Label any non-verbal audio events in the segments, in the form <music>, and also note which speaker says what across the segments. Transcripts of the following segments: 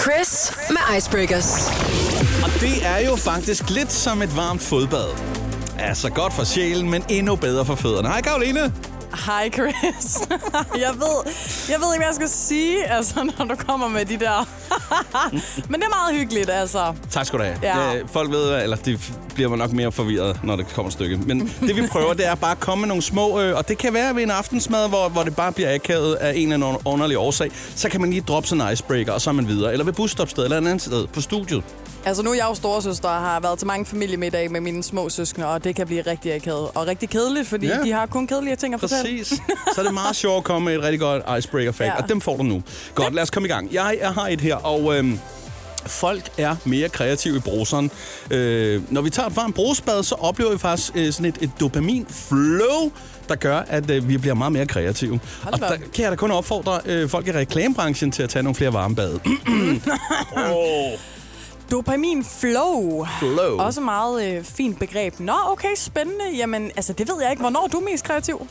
Speaker 1: Chris med Icebreakers.
Speaker 2: Og det er jo faktisk lidt som et varmt fodbad. Altså godt for sjælen, men endnu bedre for fødderne. Hej Karoline.
Speaker 3: Hej Chris. <laughs> jeg, ved, jeg ved ikke, hvad jeg skal sige, altså, når du kommer med de der. Men det er meget hyggeligt, altså.
Speaker 2: Tak skal du have.
Speaker 3: Ja.
Speaker 2: Øh, Folk ved, eller de f- bliver nok mere forvirret, når det kommer et stykke. Men det vi prøver, det er bare at komme med nogle små, øh, og det kan være ved en aftensmad, hvor, hvor det bare bliver akavet af en eller anden underlig årsag. Så kan man lige droppe sådan en icebreaker, og så er man videre. Eller ved busstopstedet, eller et andet sted på studiet.
Speaker 3: Altså nu er jeg jo storesøster og har været til mange familiemiddage med mine små søskende, og det kan blive rigtig akavet og rigtig kedeligt, fordi
Speaker 2: Ja.
Speaker 3: yeah. de har kun kedelige ting at fortælle.
Speaker 2: Præcis. Så er det meget sjovt at komme med et rigtig godt icebreaker-fact, ja.
Speaker 3: Ja.
Speaker 2: og dem får du nu. Godt, lad os komme i gang. Jeg, jeg har et her, og øhm, folk er mere kreative i bruseren. Øh, når vi tager et varmt brusbad, så oplever vi faktisk øh, sådan et, et dopamin-flow, der gør, at øh, vi bliver meget mere kreative.
Speaker 3: Hold
Speaker 2: og
Speaker 3: da
Speaker 2: der
Speaker 3: op.
Speaker 2: kan jeg da kun opfordre øh, folk i reklamebranchen til at tage nogle flere
Speaker 3: <laughs>
Speaker 2: varmebade. oh,
Speaker 3: Dopamin flow.
Speaker 2: flow.
Speaker 3: Også meget øh, fint begreb. Nå, okay, spændende. Jamen, altså, det ved jeg ikke. Hvornår er du mest kreativ?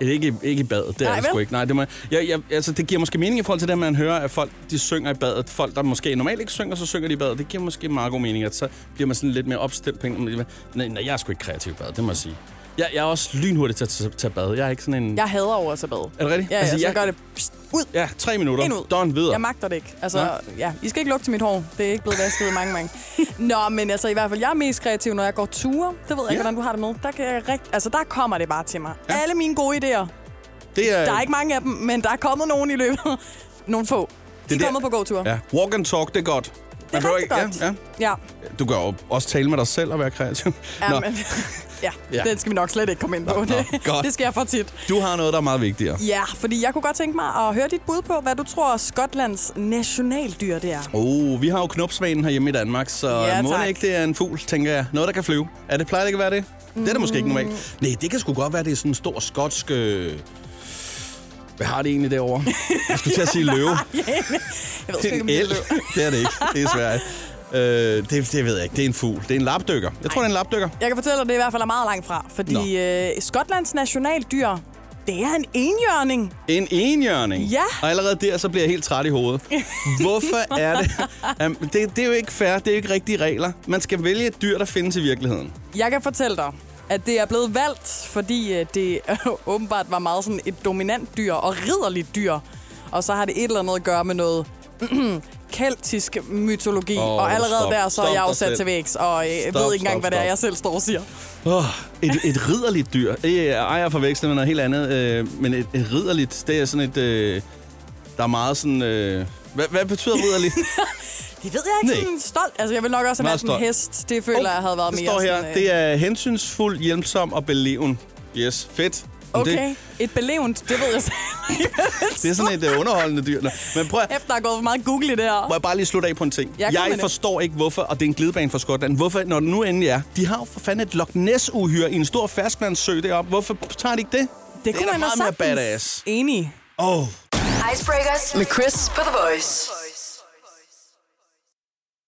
Speaker 2: Det er Ikke, ikke i badet, det er
Speaker 3: Nej,
Speaker 2: det sgu
Speaker 3: vel?
Speaker 2: ikke. Nej, det, må, jeg, jeg, altså, det giver måske mening i forhold til det, at man hører, at folk de synger i badet. Folk, der måske normalt ikke synger, så synger de i badet. Det giver måske meget god mening, at så bliver man sådan lidt mere opstemt på en eller anden måde. nej, nej, jeg er sgu ikke kreativ i badet, det må jeg sige. Jeg, jeg er også lynhurtig til at tage- tage bad. Jeg er ikke sådan en...
Speaker 3: Jeg hader over at tage bad.
Speaker 2: Er det rigtigt?
Speaker 3: Ja, altså, jeg,
Speaker 2: jeg,
Speaker 3: så gør det pst, ud.
Speaker 2: Ja, tre minutter.
Speaker 3: Ind ud.
Speaker 2: Don videre.
Speaker 3: Jeg magter det ikke. Altså,
Speaker 2: Nej.
Speaker 3: ja, I skal ikke lugte til mit hår. Det er ikke blevet vasket i mange, mange. Nå, men altså, i hvert fald, jeg er mest kreativ, når jeg går ture. Det ved jeg
Speaker 2: Ja.
Speaker 3: ikke, hvordan du har det med. Der, kan jeg rigt... altså, der kommer det bare til mig. Ja. Alle mine gode idéer.
Speaker 2: det
Speaker 3: Der er ikke mange af dem, men der er kommet nogen i løbet. <laughs> nogle få. De
Speaker 2: der-
Speaker 3: er kommet på gåtur.
Speaker 2: Ja. Walk and talk, det er godt.
Speaker 3: Det er rigtig
Speaker 2: ja,
Speaker 3: godt.
Speaker 2: Ja,
Speaker 3: ja.
Speaker 2: Du kan jo også tale med dig selv og være kreativ.
Speaker 3: Ja,
Speaker 2: Nå,
Speaker 3: men, <laughs> ja,
Speaker 2: Ja.
Speaker 3: ja, den skal vi nok slet ikke komme ind på.
Speaker 2: Nå, nå, godt.
Speaker 3: det, det sker for tit.
Speaker 2: du har noget, der er meget vigtigere.
Speaker 3: Ja, fordi jeg kunne godt tænke mig at høre dit bud på, hvad du tror Skotlands nationaldyr det er. <laughs>
Speaker 2: Oh, vi har jo knopsvanen herhjemme i Danmark, så ja,
Speaker 3: Ja,
Speaker 2: må det
Speaker 3: tak.
Speaker 2: ikke det er en fugl, tænker jeg. Noget, der kan flyve. Er det plejer det ikke at være det? Det er det måske ikke
Speaker 3: Mm.
Speaker 2: normalt. Nej, det kan sgu godt være, det er sådan en stor skotsk... Øh... Hvad har det egentlig derovre? Jeg skulle til at
Speaker 3: <laughs>
Speaker 2: sige løve.
Speaker 3: jeg ved
Speaker 2: Det
Speaker 3: sgu
Speaker 2: er
Speaker 3: ikke, om
Speaker 2: en
Speaker 3: det er
Speaker 2: el.
Speaker 3: løv.
Speaker 2: <laughs> Det er det ikke. Det er svært. Øh, det, det ved jeg ikke. Det er en fugl. Det er en lapdykker. Jeg tror, det er en lapdykker.
Speaker 3: Jeg kan fortælle dig, at det i hvert fald er meget langt fra,
Speaker 2: Nå.
Speaker 3: fordi øh, Skotlands nationaldyr, det er en enhjørning.
Speaker 2: En enhjørning?
Speaker 3: Ja.
Speaker 2: Og allerede der, så bliver jeg helt træt i hovedet. Hvorfor er
Speaker 3: <laughs>
Speaker 2: det? Jamen, det? Det er jo ikke fair. Det er jo ikke rigtige regler. Man skal vælge et dyr, der findes i virkeligheden.
Speaker 3: Jeg kan fortælle dig, at det er blevet valgt, fordi øh, det <laughs> øh, åbenbart var meget sådan et dominant dyr og ridderligt dyr. Og så har det et eller andet at gøre med noget <clears throat> keltisk mytologi.
Speaker 2: Åh,
Speaker 3: Oh, og allerede
Speaker 2: stop.
Speaker 3: der, så er
Speaker 2: Stop
Speaker 3: jeg jo
Speaker 2: dig selv.
Speaker 3: sat til vægs, og øh, jeg ved
Speaker 2: Stop,
Speaker 3: ikke engang,
Speaker 2: stop,
Speaker 3: hvad det er,
Speaker 2: stop.
Speaker 3: jeg selv står og siger.
Speaker 2: Oh, et, et ridderligt dyr. Det er- ej, jeg forveksler med noget helt andet. Øh, men et, et ridderligt, det er sådan et... Øh, der er meget sådan... Øh, hvad, hvad betyder
Speaker 3: <laughs>
Speaker 2: ridderligt?
Speaker 3: Det ved jeg ikke
Speaker 2: Nej.
Speaker 3: sådan stolt. Altså, jeg vil nok også have
Speaker 2: Meget Oh,
Speaker 3: været sådan en hest. Det føler jeg havde været
Speaker 2: det
Speaker 3: mere
Speaker 2: står her.
Speaker 3: sådan... øh,
Speaker 2: Det er hensynsfuld, hjælpsom og beleven. Yes, fedt. Men
Speaker 3: Okay,
Speaker 2: Det,
Speaker 3: et belevent, det ved jeg <laughs> selv.
Speaker 2: det er sådan et øh, underholdende dyr. Nå, Men prøv at,
Speaker 3: Efter der er gået for meget Google i det her.
Speaker 2: Må jeg bare lige slutte af på en ting?
Speaker 3: Ja, kom
Speaker 2: jeg
Speaker 3: med det.
Speaker 2: forstår ikke, hvorfor, og det er en glidebane for Skotland, hvorfor, når det nu endelig er, de har jo for fanden et Loch Ness-uhyre i en stor ferskvandssø deroppe. Hvorfor tager de ikke det?
Speaker 3: Det kunne
Speaker 2: er da
Speaker 3: man da
Speaker 2: meget mere
Speaker 3: sagtens.
Speaker 2: badass.
Speaker 3: Enig.
Speaker 2: Åh, oh,
Speaker 1: Icebreakers med Chris på The Voice.